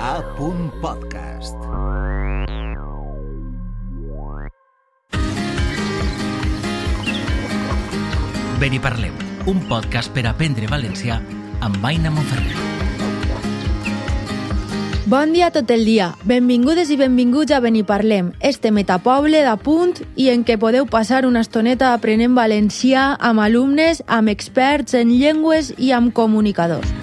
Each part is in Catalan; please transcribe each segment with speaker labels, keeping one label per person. Speaker 1: A punt podcast.
Speaker 2: Beniparlem, un podcast per aprendre valencià amb Aina Monferrer.
Speaker 3: Bon dia tot el dia. Benvingudes i benvinguts a Beniparlem, este metapoble de punt i en què podeu passar una estoneta aprenent valencià amb alumnes, amb experts en llengües i amb comunicadors.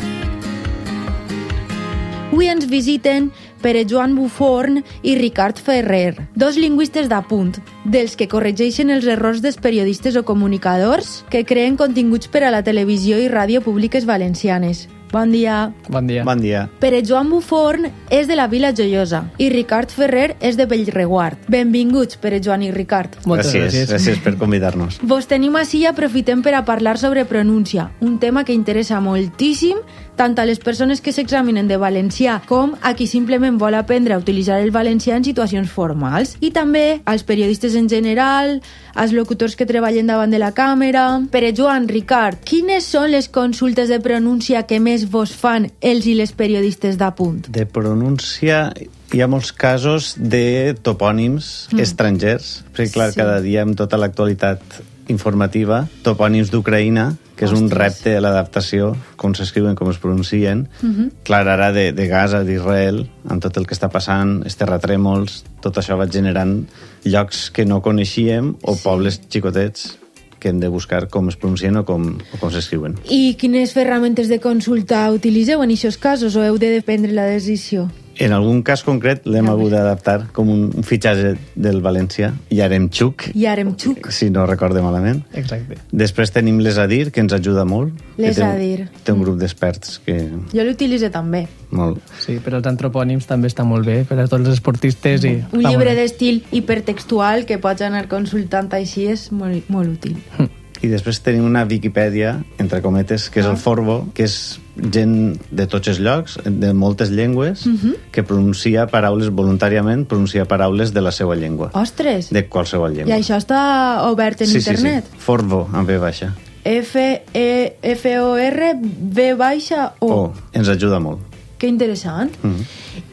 Speaker 3: Avui ens visiten Pere Joan Buforn i Ricard Ferrer, dos lingüistes de punt, dels que corregeixen els errors dels periodistes o comunicadors que creen continguts per a la televisió i ràdio públiques valencianes. Bon dia.
Speaker 4: Bon dia.
Speaker 1: Bon dia.
Speaker 3: Pere Joan Buforn és de la Vila Joiosa i Ricard Ferrer és de Bellreguard. Benvinguts, Pere Joan i Ricard.
Speaker 4: Moltes
Speaker 1: gràcies.
Speaker 4: gràcies.
Speaker 1: Gràcies per convidar-nos.
Speaker 3: Vos tenim així i aprofitem per a parlar sobre pronúncia, un tema que interessa moltíssim tant a les persones que s'examinen de valencià com a qui simplement vol aprendre a utilitzar el valencià en situacions formals i també als periodistes en general, als locutors que treballen davant de la càmera... Pere Joan, Ricard, quines són les consultes de pronúncia que més vos fan els i les periodistes d'apunt?
Speaker 1: De pronúncia hi ha molts casos de topònims mm. estrangers, perquè clar,
Speaker 3: Sí.
Speaker 1: sí. cada dia amb tota l'actualitat informativa, topònims d'Ucraïna, que és un
Speaker 3: Ostres.
Speaker 1: repte a l'adaptació, com s'escriuen, com es pronuncien. Mm -hmm. Clar, ara de, de Gaza, d'Israel, amb tot el que està passant, els terratrèmols, tot això va generant llocs que no coneixíem o sí. pobles xicotets que hem de buscar com es pronuncien o com, o com s'escriuen.
Speaker 3: I quines ferramentes de consulta utilitzeu en aquests casos o heu de prendre la decisió?
Speaker 1: En algun cas concret l'hem hagut d'adaptar com un, un fitxatge del València, Yaremchuk,
Speaker 3: I ara em xuc.
Speaker 1: si no recorde malament.
Speaker 4: Exacte.
Speaker 1: Després tenim les a dir, que ens ajuda molt. que
Speaker 3: Les
Speaker 1: té un-
Speaker 3: a dir.
Speaker 1: Té un grup d'experts que...
Speaker 3: Jo l'utilitzo també.
Speaker 1: Molt.
Speaker 4: Sí, per als antropònims també està molt bé, per a tots els esportistes i...
Speaker 3: Un llibre d'estil hipertextual que pots anar consultant així és molt, molt útil.
Speaker 1: I després tenim una Viquipèdia, entre cometes, que és
Speaker 3: Ah.
Speaker 1: el Forbo, que és gent de tots els llocs, de moltes llengües,
Speaker 3: Mhm.
Speaker 1: que pronuncia paraules voluntàriament, pronuncia paraules de la seva llengua,
Speaker 3: Ostres!
Speaker 1: de qualsevol
Speaker 3: Oh. I
Speaker 1: llengua.
Speaker 3: això està obert en
Speaker 1: sí,
Speaker 3: internet?
Speaker 1: Sí, sí. Forbo, amb V baixa.
Speaker 3: F-E-F-O-R B baixa O.
Speaker 1: O. Oh, Ens ajuda molt. Mhm.
Speaker 3: Que interessant.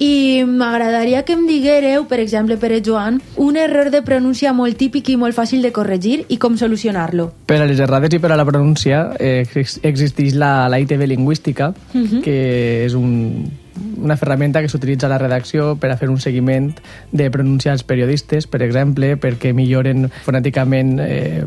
Speaker 3: I m'agradaria que em diguereu, per exemple, Pere Joan, un error de pronúncia molt típic i molt fàcil de corregir i com solucionar-lo.
Speaker 4: Per a les errades i per a la pronúncia eh, ex- existeix la, la ITV lingüística,
Speaker 3: Mhm.
Speaker 4: que és un, una ferramenta que s'utilitza a la redacció per a fer un seguiment de pronúncia als periodistes, per exemple, perquè milloren fonèticament eh,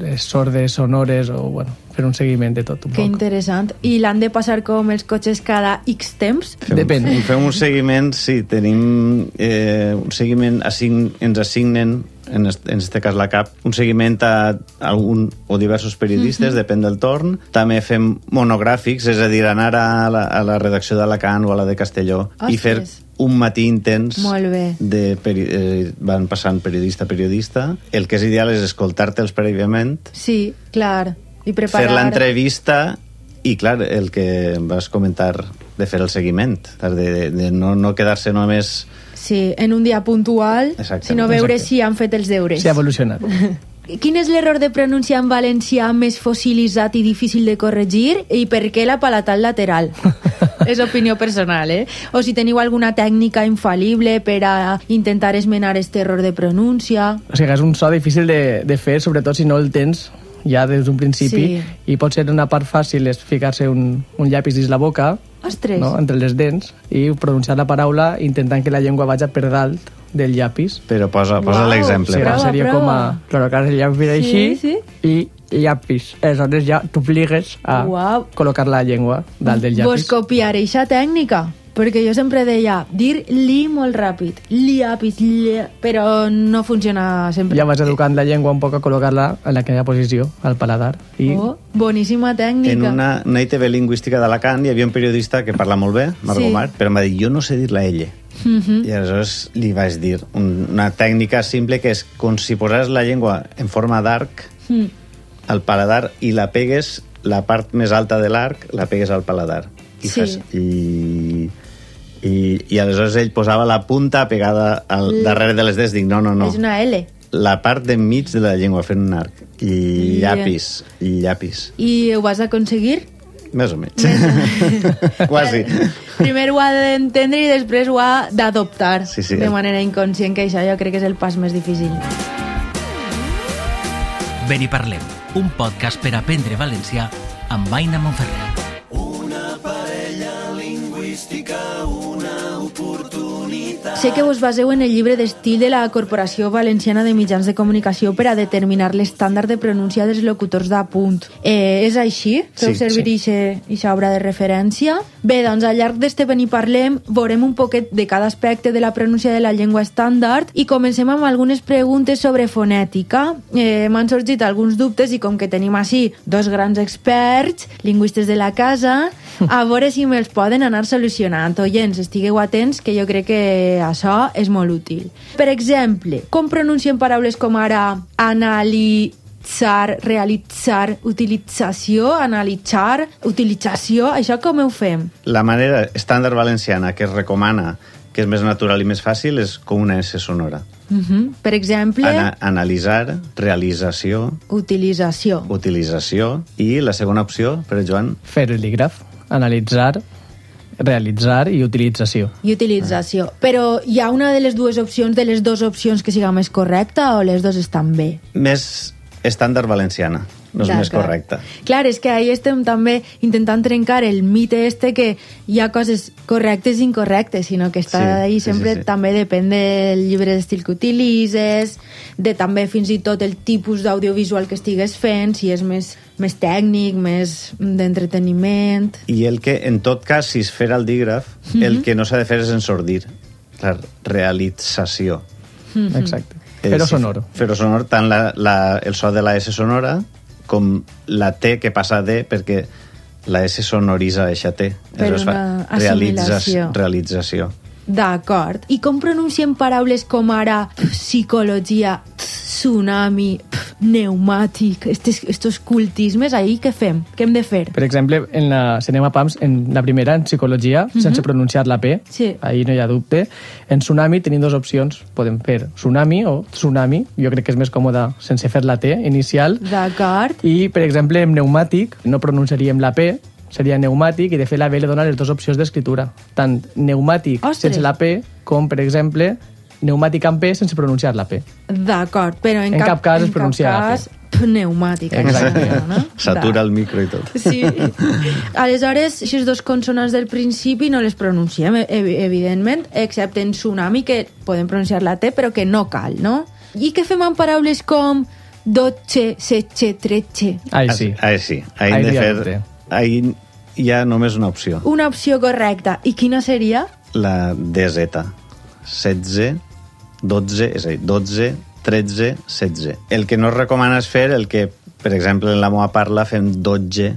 Speaker 4: les sordes, sonores, o bueno, fer un seguiment de tot un
Speaker 3: Que
Speaker 4: poc.
Speaker 3: interessant. I l'han de passar com els cotxes cada X temps?
Speaker 4: Depèn.
Speaker 1: Fem, fem un seguiment, sí, tenim eh, un seguiment, assign, ens assignen, en este, en este cas la CAP, un seguiment a algun o diversos periodistes, mm -hmm. depèn del torn. També fem monogràfics, és a dir, anar a la, a la redacció d'Alacant o a la de Castelló i
Speaker 3: Ostres.
Speaker 1: fer un matí intens
Speaker 3: Molt bé.
Speaker 1: de peri eh, van passant periodista a periodista. El que és ideal és escoltar-te'ls prèviament
Speaker 3: Sí, clar. I preparar...
Speaker 1: fer l'entrevista i, clar, el que vas comentar de fer el seguiment, de, de, de no, no quedar-se només...
Speaker 3: Sí, en un dia puntual,
Speaker 1: Exacte,
Speaker 3: sinó veure
Speaker 4: exacte.
Speaker 3: si han fet els deures.
Speaker 4: S'ha evolucionat.
Speaker 3: Quin és l'error de pronunciar en valencià més fossilitzat i difícil de corregir i per què la palatal lateral? és opinió personal, eh? O si teniu alguna tècnica infal·lible per a intentar esmenar este error de pronúncia.
Speaker 4: O sigui, és un so difícil de, de fer, sobretot si no el tens ja des d'un principi,
Speaker 3: Sí.
Speaker 4: i pot ser una part fàcil és ficar-se un, un llapis dins la boca,
Speaker 3: Ostres!
Speaker 4: no? entre les dents, i pronunciar la paraula intentant que la llengua vagi per dalt del llapis.
Speaker 1: Però posa, posa
Speaker 3: Uau,
Speaker 1: l'exemple.
Speaker 3: sí,
Speaker 4: Serà,
Speaker 3: Prova,
Speaker 4: seria
Speaker 3: prova.
Speaker 4: com a... Claro, que ara el llapis així,
Speaker 3: sí.
Speaker 4: i llapis. Aleshores ja t'obligues a
Speaker 3: Uau.
Speaker 4: col·locar la llengua dalt del
Speaker 3: Vos
Speaker 4: llapis.
Speaker 3: copiaré eixa tècnica, perquè jo sempre deia dir li molt ràpid, liapis, li... però no funciona sempre.
Speaker 4: Ja vas educant la llengua un poc a col·locar-la en aquella posició, al paladar. I
Speaker 3: Oh, boníssima
Speaker 1: En
Speaker 3: tècnica.
Speaker 1: una, una ITV lingüística d'Alacant hi havia un periodista que parla molt bé, Marc
Speaker 3: Sí. Mhm.
Speaker 1: sí. Mar, però em va dir, jo no sé dir la L. Uh -huh. I aleshores li vaig dir un- una tècnica simple que és com si posés la llengua en forma d'arc
Speaker 3: Mm.
Speaker 1: al paladar i la pegues la part més alta de l'arc, la pegues al paladar. I
Speaker 3: Sí.
Speaker 1: fas... I, i, I aleshores ell posava la punta pegada al darrere de les dents. Dic, no, no, no.
Speaker 3: Mm. És una L.
Speaker 1: La part d'enmig de la llengua fent un arc. I
Speaker 3: Yeah.
Speaker 1: llapis, i llapis.
Speaker 3: I ho vas aconseguir?
Speaker 1: Més o menys. Quasi.
Speaker 3: Primer ho ha d'entendre i després ho ha d'adoptar
Speaker 1: Sí, sí.
Speaker 3: de manera inconscient, que això jo crec que és el pas més difícil.
Speaker 2: Ven i parlem, un podcast per aprendre valencià amb Aina Monferrer.
Speaker 3: Sé que vos baseu en el llibre d'estil de la Corporació Valenciana de Mitjans de Comunicació per a determinar l'estàndard de pronúncia dels locutors de punt. Eh, és així? Feu
Speaker 1: Sí,
Speaker 3: servir
Speaker 1: sí.
Speaker 3: aquesta obra de referència? Bé, doncs al llarg d'este Ben i Parlem veurem un poquet de cada aspecte de la pronúncia de la llengua estàndard i comencem amb algunes preguntes sobre fonètica. Eh, M'han sorgit alguns dubtes i com que tenim així dos grans experts, lingüistes de la casa, a veure si me'ls poden anar solucionant. Oients, estigueu atents que jo crec que això és molt útil. Per exemple, com pronunciem paraules com ara analitzar, realitzar, utilització, analitzar, utilització, això com ho fem?
Speaker 1: La manera estàndard valenciana que es recomana, que és més natural i més fàcil, és com una S sonora.
Speaker 3: Uh -huh. Per exemple,
Speaker 1: Ana analitzar, realització,
Speaker 3: utilització.
Speaker 1: utilització i la segona opció, per Joan,
Speaker 4: Fer el·lígraf, analitzar, realitzar i utilització.
Speaker 3: I utilització. Però hi ha una de les dues opcions, de les dues opcions que siga més correcta o les dues estan bé?
Speaker 1: més estàndard valenciana. No és més
Speaker 3: D'acord.
Speaker 1: correcta.
Speaker 3: Clar, és que ahir estem també intentant trencar el mite este que hi ha coses correctes i incorrectes, sinó que està
Speaker 1: Sí,
Speaker 3: ahí
Speaker 1: sí, sí,
Speaker 3: sempre
Speaker 1: sí.
Speaker 3: també depèn del llibre d'estil que utilitzes, de també fins i tot el tipus d'audiovisual que estigues fent, si és més, més tècnic, més d'entreteniment...
Speaker 1: I el que, en tot cas, si es fer el dígraf,
Speaker 3: Mhm.
Speaker 1: el que no s'ha de fer és ensordir. Clar, realització.
Speaker 3: Mhm.
Speaker 4: Exacte.
Speaker 1: És
Speaker 4: Però
Speaker 1: si-
Speaker 4: sonoro.
Speaker 1: Fer-ho sonor, tant la, la, el so de la S sonora com la T que passa a D, perquè la S sonoritza eixa T.
Speaker 3: Per
Speaker 1: Aleshores fa
Speaker 3: una
Speaker 1: realitzas-
Speaker 3: assimilació.
Speaker 1: Realització.
Speaker 3: D'acord. I com pronunciem paraules com ara pf, psicologia, pf, tsunami, pf, pneumàtic, estes, estos cultismes, ahir què fem? Què hem de fer?
Speaker 4: Per exemple, en la, si anem a PAMS, en la primera, en psicologia, sense pronunciar la P,
Speaker 3: Mhm. Sí.
Speaker 4: ahir no hi ha dubte. En tsunami tenim dues opcions. Podem fer tsunami o tsunami. Jo crec que és més còmode sense fer la T inicial.
Speaker 3: D'acord.
Speaker 4: I, per exemple, en pneumàtic no pronunciaríem la P, seria pneumàtic, i de fet la B li dona les dues opcions d'escriptura. Tant pneumàtic
Speaker 3: Ostres.
Speaker 4: sense la P, com, per exemple, pneumàtic amb P sense pronunciar la P.
Speaker 3: D'acord, però en,
Speaker 4: En cap cas
Speaker 3: en
Speaker 4: es pronuncia la
Speaker 3: cap
Speaker 4: P.
Speaker 3: cas pneumàtic.
Speaker 4: Exacte.
Speaker 3: No?
Speaker 1: Satura
Speaker 3: D'acord.
Speaker 1: el micro i tot.
Speaker 3: Sí. Aleshores, aquestes dos consonants del principi no les pronunciem, e- ev- evidentment, excepte en tsunami, que podem pronunciar la T, però que no cal, no? I què fem amb paraules com dotxe, setxe, tretxe?
Speaker 4: Ai, sí.
Speaker 1: Ahí sí.
Speaker 4: Ahí
Speaker 1: Ahí, hem de
Speaker 4: hi ha
Speaker 1: fer...
Speaker 4: dubte.
Speaker 1: Ahí hi ha només una opció,
Speaker 3: Una opció correcta. I quina seria?
Speaker 1: la DZ. 16, 12, és a dir, 12, 13, 16. El que no es recomana és fer el que, per exemple, en la meva parla fem 12,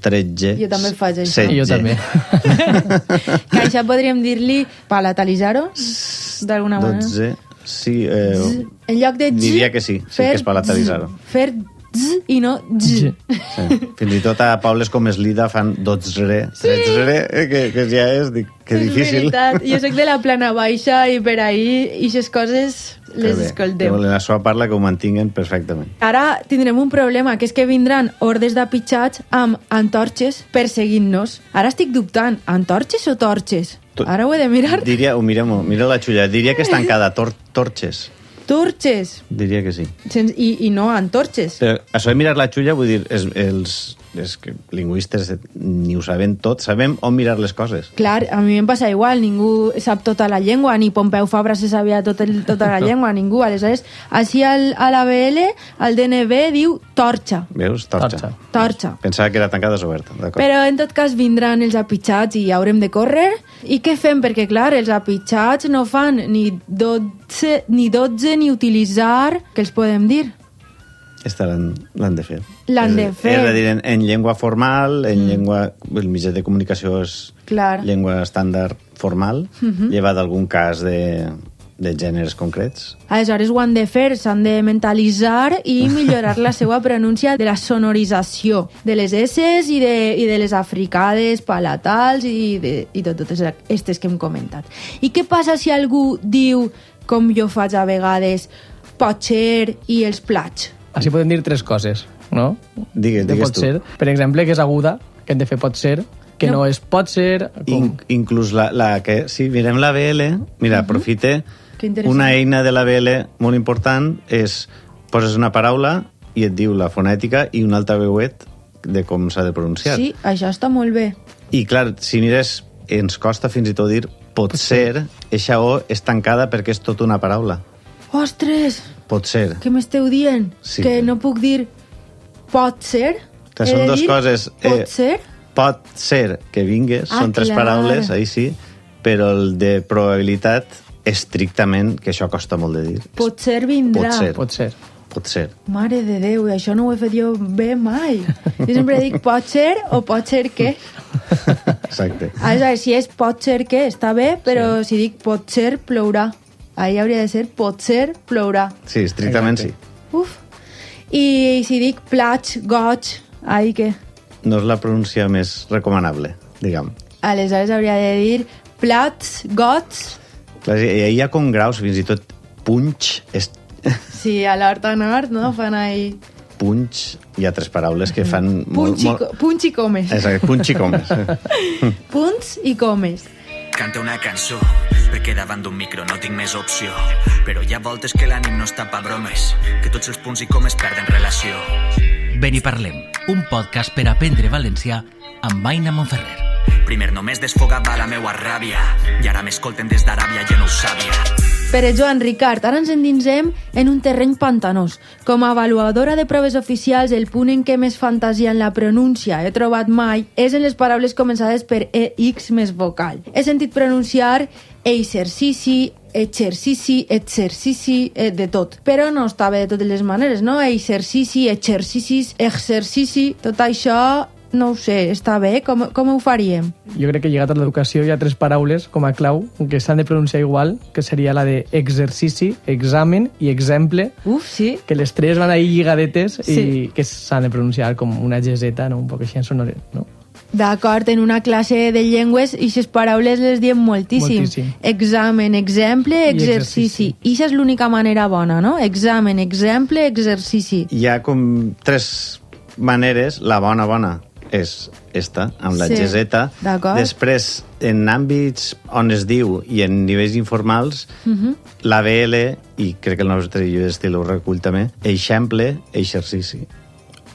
Speaker 1: 13,
Speaker 3: Jo també faig això.
Speaker 4: I jo
Speaker 1: 16.
Speaker 4: també.
Speaker 3: Que això podríem dir-li palatalitzar-ho, d'alguna manera.
Speaker 1: 12, sí, eh,
Speaker 3: Z. En lloc de z,
Speaker 1: diria que sí, sí
Speaker 3: fer
Speaker 1: que és palatalitzar-ho.
Speaker 3: z, Fer z i no z.
Speaker 4: Sí.
Speaker 1: sí. Fins i tot a Paules com es lida fan 12, 13, eh, que, que ja és, dic, que
Speaker 3: És
Speaker 1: difícil.
Speaker 3: veritat. Jo soc de la plana baixa i per ahir aquestes coses les escolteu.
Speaker 1: En la seva parla que ho mantinguen perfectament.
Speaker 3: Ara tindrem un problema, que és que vindran hordes de pitxats amb antorxes perseguint-nos. Ara estic dubtant, antorxes o torxes?
Speaker 1: Tu-
Speaker 3: Ara ho he de mirar.
Speaker 1: Diria, ho mirem, mira la xulla, diria que és tancada, tor torxes,
Speaker 3: Torxes.
Speaker 1: diria que sí.
Speaker 3: Sens- I, i no antorxes.
Speaker 1: Però Eh, això de mirar la xulla, vull dir, és, els, els que lingüistes ni ho sabem tot, sabem on mirar les coses.
Speaker 3: Clar, a mi em passa igual, ningú sap tota la llengua, ni Pompeu Fabra se sabia tot el, tota la llengua, ningú. Aleshores, així al, a la BL, al DNB, diu torxa,
Speaker 1: Veus? Torxa.
Speaker 4: Torxa.
Speaker 3: torxa.
Speaker 1: Pensava que era tancada és oberta, d'acord.
Speaker 3: Però en tot cas vindran els apitxats i haurem de córrer. I què fem? Perquè clar, els apitxats no fan ni 12 ni, 12, ni utilitzar... Què els podem dir?
Speaker 1: Esta l'han l'han de fer.
Speaker 3: L'han de
Speaker 1: És-
Speaker 3: fer.
Speaker 1: És a dir, en, en llengua formal, en mm. llengua... El mitjà de comunicació és
Speaker 3: Clar. Mhm.
Speaker 1: llengua estàndard formal, mm -hmm. llevat d'algun cas de, de gèneres concrets.
Speaker 3: Aleshores ho han de fer, s'han de mentalitzar i millorar la seva pronúncia de la sonorització de les S i de, i de les africades, palatals i, de, i de totes aquestes que hem comentat. I què passa si algú diu, com jo faig a vegades, potser i els plats?
Speaker 4: Així podem dir tres coses, no?
Speaker 1: Digues,
Speaker 4: Que
Speaker 1: digues
Speaker 4: pot
Speaker 1: tu.
Speaker 4: ser, per exemple, que és aguda, que hem de fer pot ser, que
Speaker 3: No.
Speaker 4: no, és pot ser... Com...
Speaker 1: In, inclús la, la que... Si mirem la BL, mira,
Speaker 3: Mhm.
Speaker 1: aprofite...
Speaker 3: Que interessant.
Speaker 1: Una eina de la BL molt important és... Poses una paraula i et diu la fonètica i un altaveuet de com s'ha de pronunciar.
Speaker 3: Sí, això està molt bé.
Speaker 1: I clar, si mires, ens costa fins i tot dir pot ser, eixa O és tancada perquè és tota una paraula.
Speaker 3: Ostres,
Speaker 1: Pot ser.
Speaker 3: què m'esteu dient?
Speaker 1: Sí.
Speaker 3: Que no puc dir pot ser?
Speaker 1: Que
Speaker 3: He
Speaker 1: són
Speaker 3: de
Speaker 1: dues
Speaker 3: dir
Speaker 1: coses,
Speaker 3: Pot
Speaker 1: eh,
Speaker 3: ser?
Speaker 1: Pot ser que vingues,
Speaker 3: Ah,
Speaker 1: són tres
Speaker 3: clar.
Speaker 1: paraules, ahir sí, però el de probabilitat, estrictament, que això costa molt de dir.
Speaker 3: Pot ser vindrà.
Speaker 1: Pot ser.
Speaker 4: Pot ser.
Speaker 1: Pot ser.
Speaker 3: Mare de Déu, i això no ho he fet jo bé mai. Jo sempre dic pot ser o pot ser què.
Speaker 1: Exacte.
Speaker 3: Aleshores, si és pot ser que, està bé, però sí. si dic pot ser, plourà. Ahí hauria de ser pot ser, plourà.
Speaker 1: Sí, estrictament sí.
Speaker 3: Uf. I si dic plats, goig, ahí què?
Speaker 1: No és la pronúncia més recomanable, diguem.
Speaker 3: Aleshores hauria de dir plats, gots...
Speaker 1: Clar, hi hi ha com graus, fins i tot punx, és
Speaker 3: Sí, a l'Horta Nord, no? Fan ahí...
Speaker 1: punx, hi ha tres paraules que fan...
Speaker 3: Punts, i, co- punts i comes.
Speaker 1: Exacte, punx i comes.
Speaker 3: Punts i comes.
Speaker 5: Canta una cançó, perquè davant d'un micro no tinc més opció. Però hi ha voltes que l'ànim no està pa bromes, que tots els punts i comes perden relació.
Speaker 2: Beniparlem, un podcast per aprendre valencià amb Aina Monferrer.
Speaker 5: Primer només desfogava la meua ràbia, i ara m'escolten des d'Aràbia, ja no ho sabia.
Speaker 3: Pere Joan Ricard, ara ens endinsem en un terreny pantanós. Com a avaluadora de proves oficials, el punt en què més fantasia en la pronúncia he trobat mai és en les paraules començades per EX més vocal. He sentit pronunciar exercici, exercici, exercici, eh, de tot. Però no està bé de totes les maneres, no? Exercici, exercicis, exercici... Tot això, no ho sé, està bé? Com, com ho faríem?
Speaker 4: Jo crec que lligat a l'educació hi ha tres paraules com a clau que s'han de pronunciar igual, que seria la de exercici, examen i exemple,
Speaker 3: Uf, sí.
Speaker 4: que les tres van ahí lligadetes
Speaker 3: Sí.
Speaker 4: i que s'han de pronunciar com una geseta, no? un poc així en sonoret, no?
Speaker 3: D'acord, en una classe de llengües aquestes paraules les diem moltíssim.
Speaker 4: Moltíssim.
Speaker 3: Examen, exemple,
Speaker 4: I exercici.
Speaker 3: exercici. I això és l'única manera bona, no? Examen, exemple, exercici.
Speaker 1: hi ha com tres maneres. La bona bona és esta, amb la
Speaker 3: Sí,
Speaker 1: geseta.
Speaker 3: d'acord.
Speaker 1: Després, en àmbits on es diu i en nivells informals,
Speaker 3: Mhm.
Speaker 1: la BL, i crec que el nostre llibre d'estil ho recull també, eixample, exercici.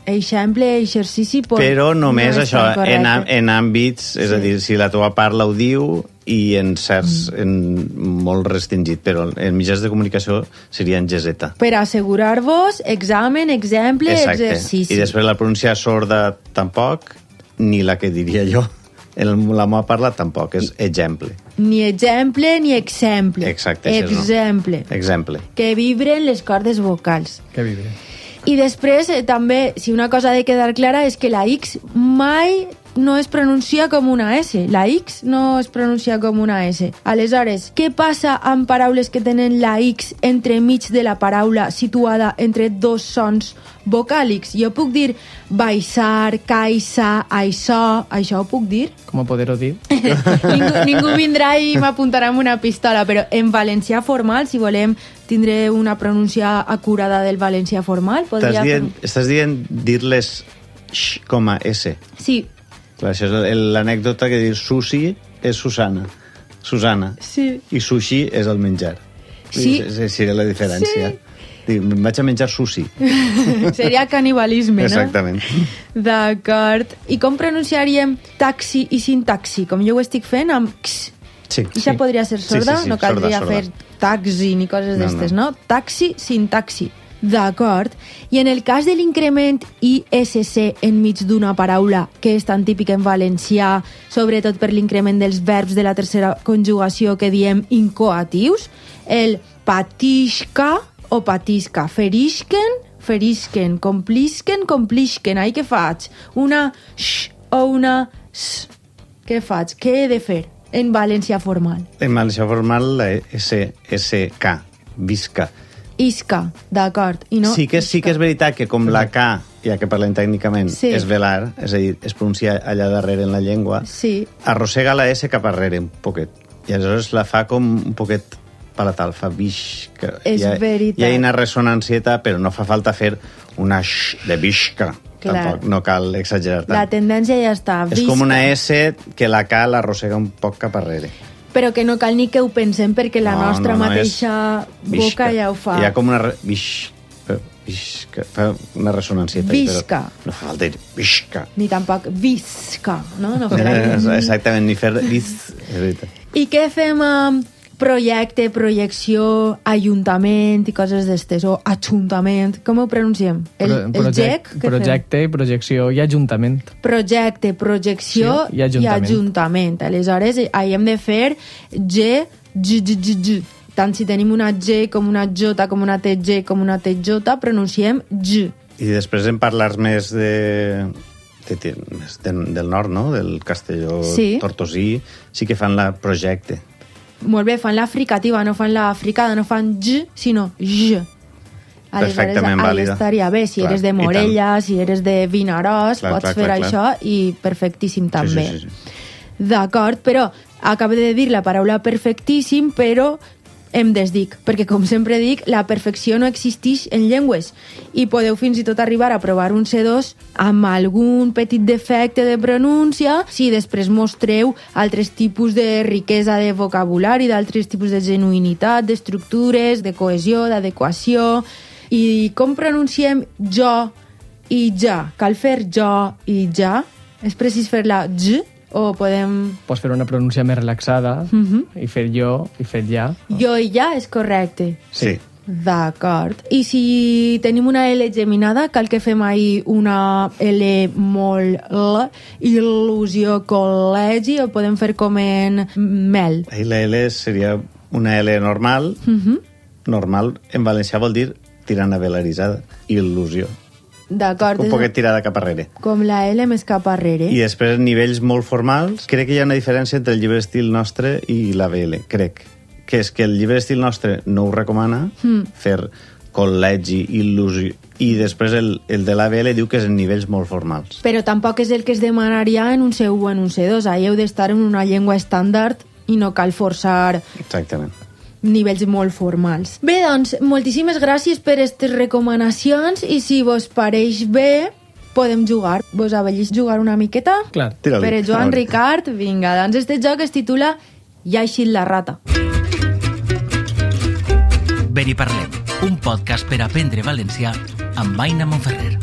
Speaker 3: Exemple, exercici... Por...
Speaker 1: Però només
Speaker 3: no és
Speaker 1: això,
Speaker 3: tan correcte.
Speaker 1: en, am- en àmbits, és a dir, si la teva parla ho diu i en certs,
Speaker 3: Mm.
Speaker 1: en molt restringit, però en mitjans de comunicació seria en geseta.
Speaker 3: Per assegurar-vos, examen, exemple, exercici.
Speaker 1: I després la pronunciar sorda tampoc, ni la que diria jo. El, la meva parla tampoc, és exemple.
Speaker 3: Ni exemple ni exemple.
Speaker 1: Exacte, això és, no?
Speaker 3: Exemple.
Speaker 1: Exemple.
Speaker 3: Que vibren les cordes vocals.
Speaker 4: Que vibre.
Speaker 3: I després, eh, també, si una cosa ha de quedar clara és que la X mai no es pronuncia com una S. La X no es pronuncia com una S. Aleshores, què passa amb paraules que tenen la X entremig de la paraula situada entre dos sons vocàlics? Jo puc dir baixar, caixa, això... Això ho puc dir?
Speaker 4: Com a poder-ho dir.
Speaker 3: ningú, ningú vindrà i m'apuntarà amb una pistola, però en valencià formal, si volem tindré una pronúncia acurada del valencià formal,
Speaker 1: Estàs
Speaker 3: podria...
Speaker 1: dient, estàs dient dir-les x com a s.
Speaker 3: Sí,
Speaker 1: Clar, això és el- l'anècdota que diu Susi és Susana. Susana.
Speaker 3: sí.
Speaker 1: I sushi és el menjar.
Speaker 3: Sí.
Speaker 1: És, és, seria la diferència. Sí. Dic, "Em vaig a menjar sushi.
Speaker 3: Seria canibalisme,
Speaker 1: Exactament.
Speaker 3: no? D'acord. I com pronunciaríem taxi i sintaxi? Com jo ho estic fent amb x.
Speaker 1: Sí.
Speaker 3: I ja podria ser sorda,
Speaker 1: sí, sí,
Speaker 3: no caldria
Speaker 1: sorda, sorda.
Speaker 3: fer taxi ni coses
Speaker 1: No,
Speaker 3: d'estes,
Speaker 1: no.
Speaker 3: no. Taxi, sintaxi. D'acord. I en el cas de l'increment ISC enmig d'una paraula, que és tan típic en valencià, sobretot per l'increment dels verbs de la tercera conjugació que diem incoatius, el patisca o patisca, ferisquen, ferisquen, complisquen, complisquen. Ai, què faig? Una x o una s. Què faig? Què he de fer en valencià formal?
Speaker 1: En valencià formal, la E S, S, K, visca.
Speaker 3: Isca, d'acord. I no
Speaker 1: sí, que, sí que és veritat que com la K, ja que parlem tècnicament,
Speaker 3: Sí.
Speaker 1: sí. és velar, és a dir, es pronuncia allà darrere en la llengua,
Speaker 3: Sí,
Speaker 1: arrossega la S cap arrere un poquet. I aleshores la fa com un poquet palatal, fa bix... Que
Speaker 3: És
Speaker 1: hi ha,
Speaker 3: veritat.
Speaker 1: Hi ha una ressonancieta, però no fa falta fer una x de bixca,
Speaker 3: Clar.
Speaker 1: Tampoc no cal exagerar tant.
Speaker 3: La tendència ja està
Speaker 1: És com una E. S que la K l'arrossega un poc cap arrere.
Speaker 3: Però que no cal ni que ho pensem perquè la nostra mateixa
Speaker 1: és
Speaker 3: boca
Speaker 1: visca.
Speaker 3: ja ho fa.
Speaker 1: Hi ha com una... Re... Vish... Visca. Fa una ressonancieta. ahí, però
Speaker 3: Visca.
Speaker 1: No fa falta dir visca.
Speaker 3: Ni tampoc visca, no? no farà ni-
Speaker 1: Exactament, ni fer vis... És veritat.
Speaker 3: I què fem amb projecte, projecció, ajuntament i coses d'estes, o ajuntament, com ho pronunciem? El,
Speaker 4: Pro-
Speaker 3: el
Speaker 4: projec-
Speaker 3: GEC? Què fem?
Speaker 4: projecte, projecció i ajuntament.
Speaker 3: Projecte, projecció
Speaker 4: Sí, i ajuntament.
Speaker 3: i ajuntament. Aleshores, ahir hem de fer G, G, G, G, G. Tant si tenim una G com una J, com una TG, com una TJ, pronunciem G.
Speaker 1: I després en parlar més de... De, de, més de, del nord, no? Del castelló
Speaker 3: Sí.
Speaker 1: tortosí. Sí que fan la projecte.
Speaker 3: Molt bé, fan la fricativa, no fan la fricada, no fan G, sinó J. Aleshores,
Speaker 1: Perfectament
Speaker 3: ahí
Speaker 1: vàlida.
Speaker 3: estaria bé, si
Speaker 1: Clar,
Speaker 3: clar, eres
Speaker 1: i
Speaker 3: de
Speaker 1: tant.
Speaker 3: Morella, si eres de Vinaròs,
Speaker 1: Clar,
Speaker 3: pots
Speaker 1: clar,
Speaker 3: fer
Speaker 1: clar, clar.
Speaker 3: això i perfectíssim també.
Speaker 1: sí, sí.
Speaker 3: D'acord, però acabo de dir la paraula perfectíssim, però em desdic, perquè com sempre dic, la perfecció no existeix en llengües i podeu fins i tot arribar a provar un C2 amb algun petit defecte de pronúncia si després mostreu altres tipus de riquesa de vocabulari, d'altres tipus de genuïnitat, d'estructures, de cohesió, d'adequació... I com pronunciem jo i ja? Cal fer jo i ja? És precís fer la j o podem...
Speaker 4: Pots fer una pronúncia més relaxada
Speaker 3: Mhm.
Speaker 4: i fer jo i fer ja.
Speaker 3: Jo i ja és correcte.
Speaker 1: Sí.
Speaker 3: D'acord. I si tenim una L geminada, cal que fem ahir una L molt L, il·lusió col·legi, o podem fer com en mel.
Speaker 1: Ahí la L seria una L normal.
Speaker 3: Mhm.
Speaker 1: Normal en valencià vol dir tirant a velaritzada. Il·lusió.
Speaker 3: D'acord.
Speaker 1: Un
Speaker 3: és
Speaker 1: poquet tirada cap arrere.
Speaker 3: Com la L més cap arrere.
Speaker 1: I després nivells molt formals. Crec que hi ha una diferència entre el llibre estil nostre i la BL, crec. Que és que el llibre estil nostre no ho recomana, mm. fer col·legi, il·lusió... I després el, el de l'ABL diu que és en nivells molt formals.
Speaker 3: Però tampoc és el que es demanaria en un C1 o en un C2. Ahir heu d'estar en una llengua estàndard i no cal forçar
Speaker 1: Exactament.
Speaker 3: nivells molt formals. Bé, doncs, moltíssimes gràcies per aquestes recomanacions i si vos pareix bé, podem jugar. Vos avellis jugar una miqueta?
Speaker 4: Clar.
Speaker 1: Tira-li.
Speaker 3: Per Joan
Speaker 1: A veure.
Speaker 3: Ricard, vinga, doncs este joc es titula I ha eixit la rata.
Speaker 2: Ven i parlem, un podcast per aprendre valencià amb Aina Monferrer.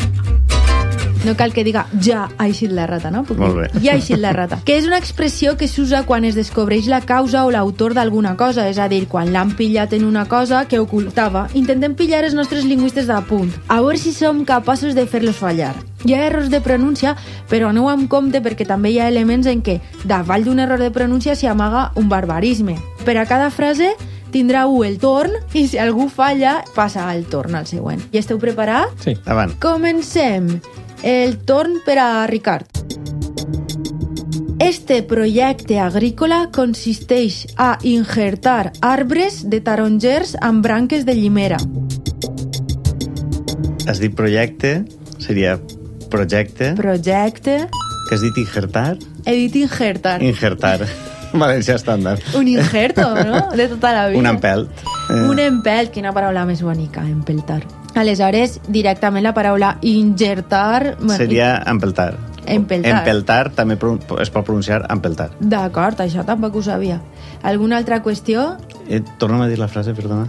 Speaker 3: No cal que diga ja ha eixit la rata, no? Puc dir,
Speaker 1: Molt bé.
Speaker 3: Ja ha eixit la rata. Que és una expressió que s'usa quan es descobreix la causa o l'autor d'alguna cosa, és a dir, quan l'han pillat en una cosa que ocultava. Intentem pillar els nostres lingüistes de punt, a veure si som capaços de fer-los fallar. Hi ha errors de pronúncia, però aneu amb compte perquè també hi ha elements en què davall d'un error de pronúncia s'hi amaga un barbarisme. Per a cada frase tindrà un el torn i si algú falla passa al torn al següent. I esteu preparats?
Speaker 4: Sí.
Speaker 1: Avant.
Speaker 3: Comencem. El torn per a Ricard. Este projecte agrícola consisteix a injertar arbres de tarongers amb branques de llimera.
Speaker 1: Has dit projecte, seria projecte,
Speaker 3: Projecte...
Speaker 1: que has dit injertar,
Speaker 3: He dit injertar.
Speaker 1: injertar. Valencià estàndard.
Speaker 3: Un injerto, no? De tota la vida.
Speaker 1: Un empelt. Eh,
Speaker 3: Un empelt, quina paraula més bonica, empeltar. Aleshores, directament la paraula injertar... bueno,
Speaker 1: Seria empeltar.
Speaker 3: Empeltar.
Speaker 1: Empeltar també pro- es pot pronunciar empeltar.
Speaker 3: D'acord, això tampoc ho sabia. Alguna altra qüestió?
Speaker 1: Eh, torna'm a dir la frase, perdona.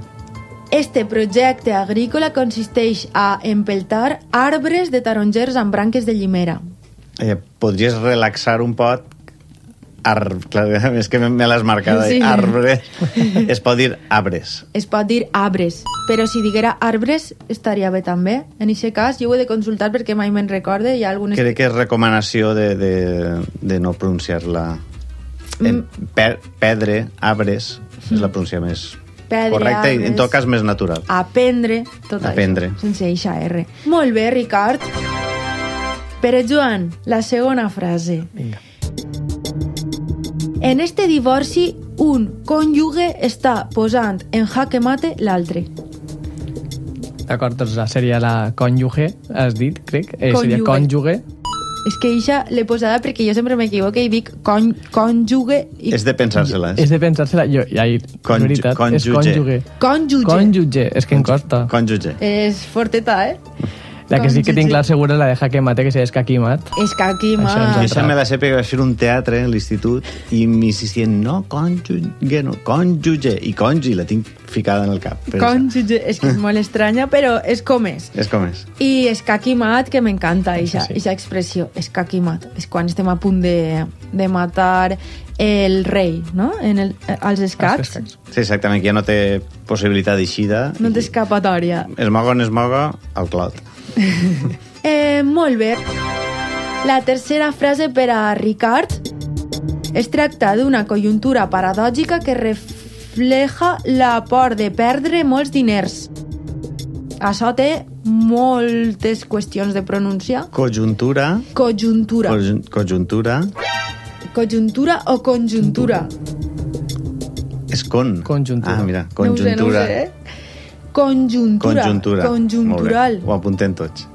Speaker 3: Este projecte agrícola consisteix a empeltar arbres de tarongers amb branques de llimera.
Speaker 1: Eh, podries relaxar un pot ar... Clar, és que me- me l'has marcada.
Speaker 3: Sí.
Speaker 1: Sí. Arbre. Es pot dir arbres.
Speaker 3: Es pot dir arbres, però si diguera arbres estaria bé també. En aquest cas, jo ho he de consultar perquè mai me'n recorde. Hi ha algunes...
Speaker 1: Crec que és recomanació de, de, de no pronunciar-la... Eh,
Speaker 3: Mm.
Speaker 1: per, pedre, arbres, és la pronunciació més
Speaker 3: Pedre,
Speaker 1: correcta i en
Speaker 3: arbres. Ah,
Speaker 1: tot cas més natural.
Speaker 3: Aprendre tot
Speaker 1: Aprendre.
Speaker 3: això, sense eixa R. Molt bé, Ricard. Pere Joan, la segona frase.
Speaker 4: Vinga.
Speaker 3: En este divorci, un cònjuge està posant en jaque mate l'altre.
Speaker 4: D'acord, doncs la seria la cònjuge, has dit, crec. Eh, seria
Speaker 3: Cònjuge.
Speaker 4: cònjuge.
Speaker 3: És que eixa l'he posada perquè jo sempre m'equivoque i dic con, cònjuge i
Speaker 1: És de pensar-se-la.
Speaker 4: És de pensar-se-la... Jo, ja, és
Speaker 1: Conju-
Speaker 4: veritat, és
Speaker 1: cònjuge.
Speaker 4: cònjuge.
Speaker 3: cònjuge.
Speaker 4: Cònjuge, és que em costa.
Speaker 1: Cònjuge.
Speaker 3: És forteta, eh?
Speaker 4: La que
Speaker 3: Com
Speaker 4: sí que tinc
Speaker 3: Gigi.
Speaker 4: clar segura és la de Jaque Mate, que si és Kaki Mat.
Speaker 3: És que aquí,
Speaker 4: Això ens
Speaker 1: Jo
Speaker 3: ma...
Speaker 4: ha-
Speaker 1: això me la sé perquè vaig fer un teatre a l'institut i m'insistien, no, cònjuge, no, cònjuge, i congi, la tinc ficada en el cap. per
Speaker 3: Com, Gigi. és que és molt estranya, però és com és.
Speaker 1: això. És com és.
Speaker 3: I escaquimat, que m'encanta eixa,
Speaker 4: Sí.
Speaker 3: eixa expressió, escaquimat. És quan estem a punt de, de matar el rei, no? En el, eh, als escacs.
Speaker 4: escacs.
Speaker 1: Sí, exactament, que ja no té possibilitat d'eixida.
Speaker 3: No té
Speaker 1: I
Speaker 3: escapatòria.
Speaker 1: Es moga on es moga, al clot.
Speaker 3: Eh, molt bé. La tercera frase per a Ricard es tracta d'una conjuntura paradògica que refleja la por de perdre molts diners. Això té moltes qüestions de pronunciar.
Speaker 1: Conjuntura,
Speaker 3: Conjuntura.
Speaker 1: conjun- conjuntura,
Speaker 3: Conjuntura o conjuntura?
Speaker 1: és con.
Speaker 4: Conjuntura.
Speaker 1: Ah, mira,
Speaker 3: No
Speaker 1: conjuntura.
Speaker 3: ho sé, no ho sé. Conjuntura.
Speaker 1: Conjuntura.
Speaker 3: Conjuntural.
Speaker 1: Molt bé, Ho apuntem tots.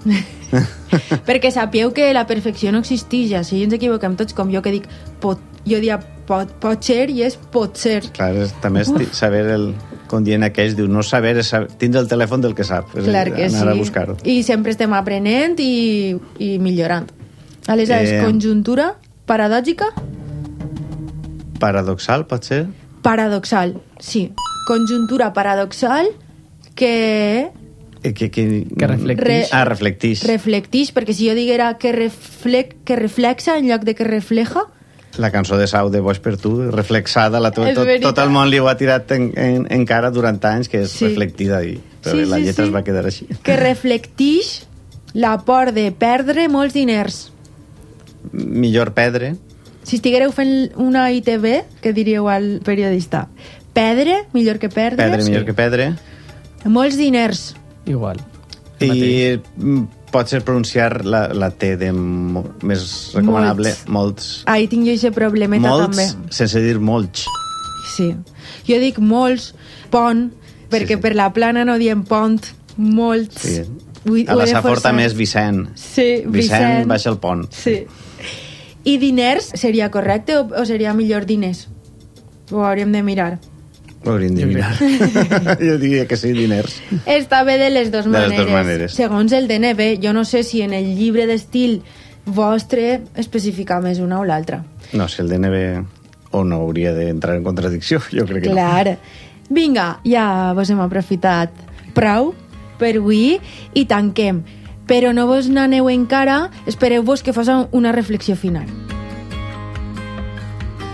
Speaker 3: Perquè sapieu que la perfecció no existeix, ja. si ens equivoquem tots, com jo que dic, pot, jo dia pot, pot ser i és pot ser.
Speaker 1: Clar, és, també és ti- saber el... Com dient aquells, diu, no saber és saber, tindre el telèfon del que sap. És a dir,
Speaker 3: Clar que
Speaker 1: anar
Speaker 3: sí.
Speaker 1: a buscar-ho.
Speaker 3: I sempre estem aprenent i, i millorant. Aleshores,
Speaker 1: Eh.
Speaker 3: eh... conjuntura paradògica,
Speaker 1: Paradoxal, pot ser?
Speaker 3: paradoxal, sí. Conjuntura paradoxal que
Speaker 1: Eh, Que, que,
Speaker 4: Que reflectix.
Speaker 3: Re-
Speaker 1: Ah, reflectix.
Speaker 3: reflectix, perquè si jo diguera que, reflec, que reflexa en lloc de que refleja,
Speaker 1: La cançó de Sau de Boix per tu, reflexada, la to,
Speaker 3: És
Speaker 1: tot,
Speaker 3: veritat.
Speaker 1: tot el món li ho ha tirat en, en, en cara durant anys, que és
Speaker 3: Sí.
Speaker 1: sí. reflectida, i, però
Speaker 3: Sí,
Speaker 1: sí, la
Speaker 3: sí,
Speaker 1: lletra
Speaker 3: sí.
Speaker 1: es va quedar així.
Speaker 3: que reflectix la por de perdre molts diners.
Speaker 1: Millor pedre,
Speaker 3: Si estiguereu fent una ITV, que diríeu al periodista? Perdre, millor que perdre.
Speaker 1: pedre millor que pedre,
Speaker 3: Molts diners.
Speaker 4: Igual.
Speaker 1: i mm, pot ser pronunciar la, la T de mo, més recomanable, molts.
Speaker 3: Ahí tinc jo aquest problemeta
Speaker 1: molts,
Speaker 3: també.
Speaker 1: sense dir molts.
Speaker 3: Sí. Jo dic molts, pont, perquè
Speaker 1: sí.
Speaker 3: per la plana no diem pont, molts.
Speaker 1: Sí.
Speaker 3: Ho- ho
Speaker 1: A la
Speaker 3: he de
Speaker 1: Saforta
Speaker 3: forçar.
Speaker 1: més Vicent.
Speaker 3: Sí, Vicent.
Speaker 1: Vicent baixa el pont.
Speaker 3: Sí. I diners seria correcte o, o seria millor diners? Ho hauríem de mirar.
Speaker 1: Ho hauríem de
Speaker 4: Jo
Speaker 1: mirar. jo diria que sí, diners.
Speaker 3: Està bé de les dues
Speaker 1: De les
Speaker 3: maneres.
Speaker 1: dues maneres.
Speaker 3: Segons el DNB, jo no sé si en el llibre d'estil vostre especifica més una o l'altra.
Speaker 1: No, si el DNB o no hauria d'entrar en contradicció, jo crec que no.
Speaker 3: Clar. Vinga, ja vos hem aprofitat prou per avui i tanquem. Però no vos n'aneu encara, espereu-vos que fos una reflexió final.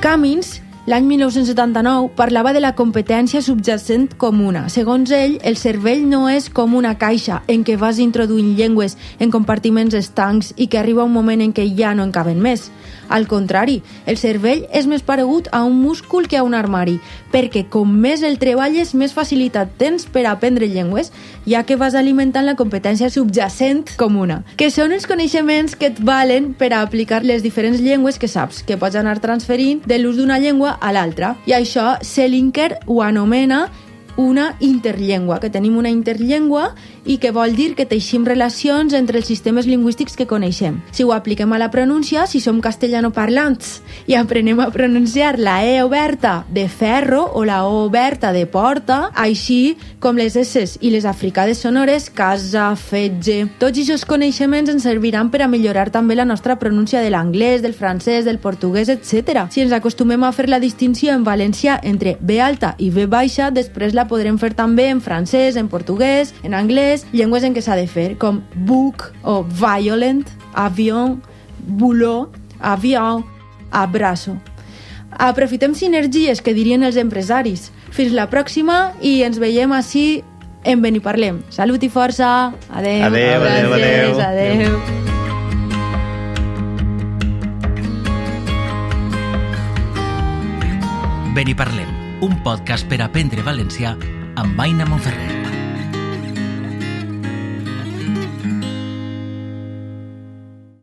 Speaker 3: Cummings, l'any 1979, parlava de la competència subjacent comuna. Segons ell, el cervell no és com una caixa en què vas introduint llengües en compartiments estancs i que arriba un moment en què ja no en caben més. Al contrari, el cervell és més paregut a un múscul que a un armari, perquè com més el treballes, més facilitat tens per aprendre llengües, ja que vas alimentant la competència subjacent comuna, que són els coneixements que et valen per a aplicar les diferents llengües que saps, que pots anar transferint de l'ús d'una llengua a l'altra. I això Selinker ho anomena una interllengua, que tenim una interllengua i que vol dir que teixim relacions entre els sistemes lingüístics que coneixem. Si ho apliquem a la pronúncia, si som castellanoparlants i aprenem a pronunciar la E oberta de ferro o la O oberta de porta, així com les S i les africades sonores, casa, fetge... Tots aquests coneixements ens serviran per a millorar també la nostra pronúncia de l'anglès, del francès, del portuguès, etc. Si ens acostumem a fer la distinció en valencià entre B alta i B baixa, després la podrem fer també en francès, en portuguès, en anglès, llengües en què s'ha de fer, com book o violent, avion, boulot, avion, abraço. Aprofitem sinergies que dirien els empresaris. Fins la pròxima i ens veiem així en Beniparlem. Salut i força. Adeu.
Speaker 1: Adeu, adeu, adeu.
Speaker 3: Gràcies, adeu.
Speaker 2: Beniparlem, un podcast per aprendre valencià amb Aina Monferrer.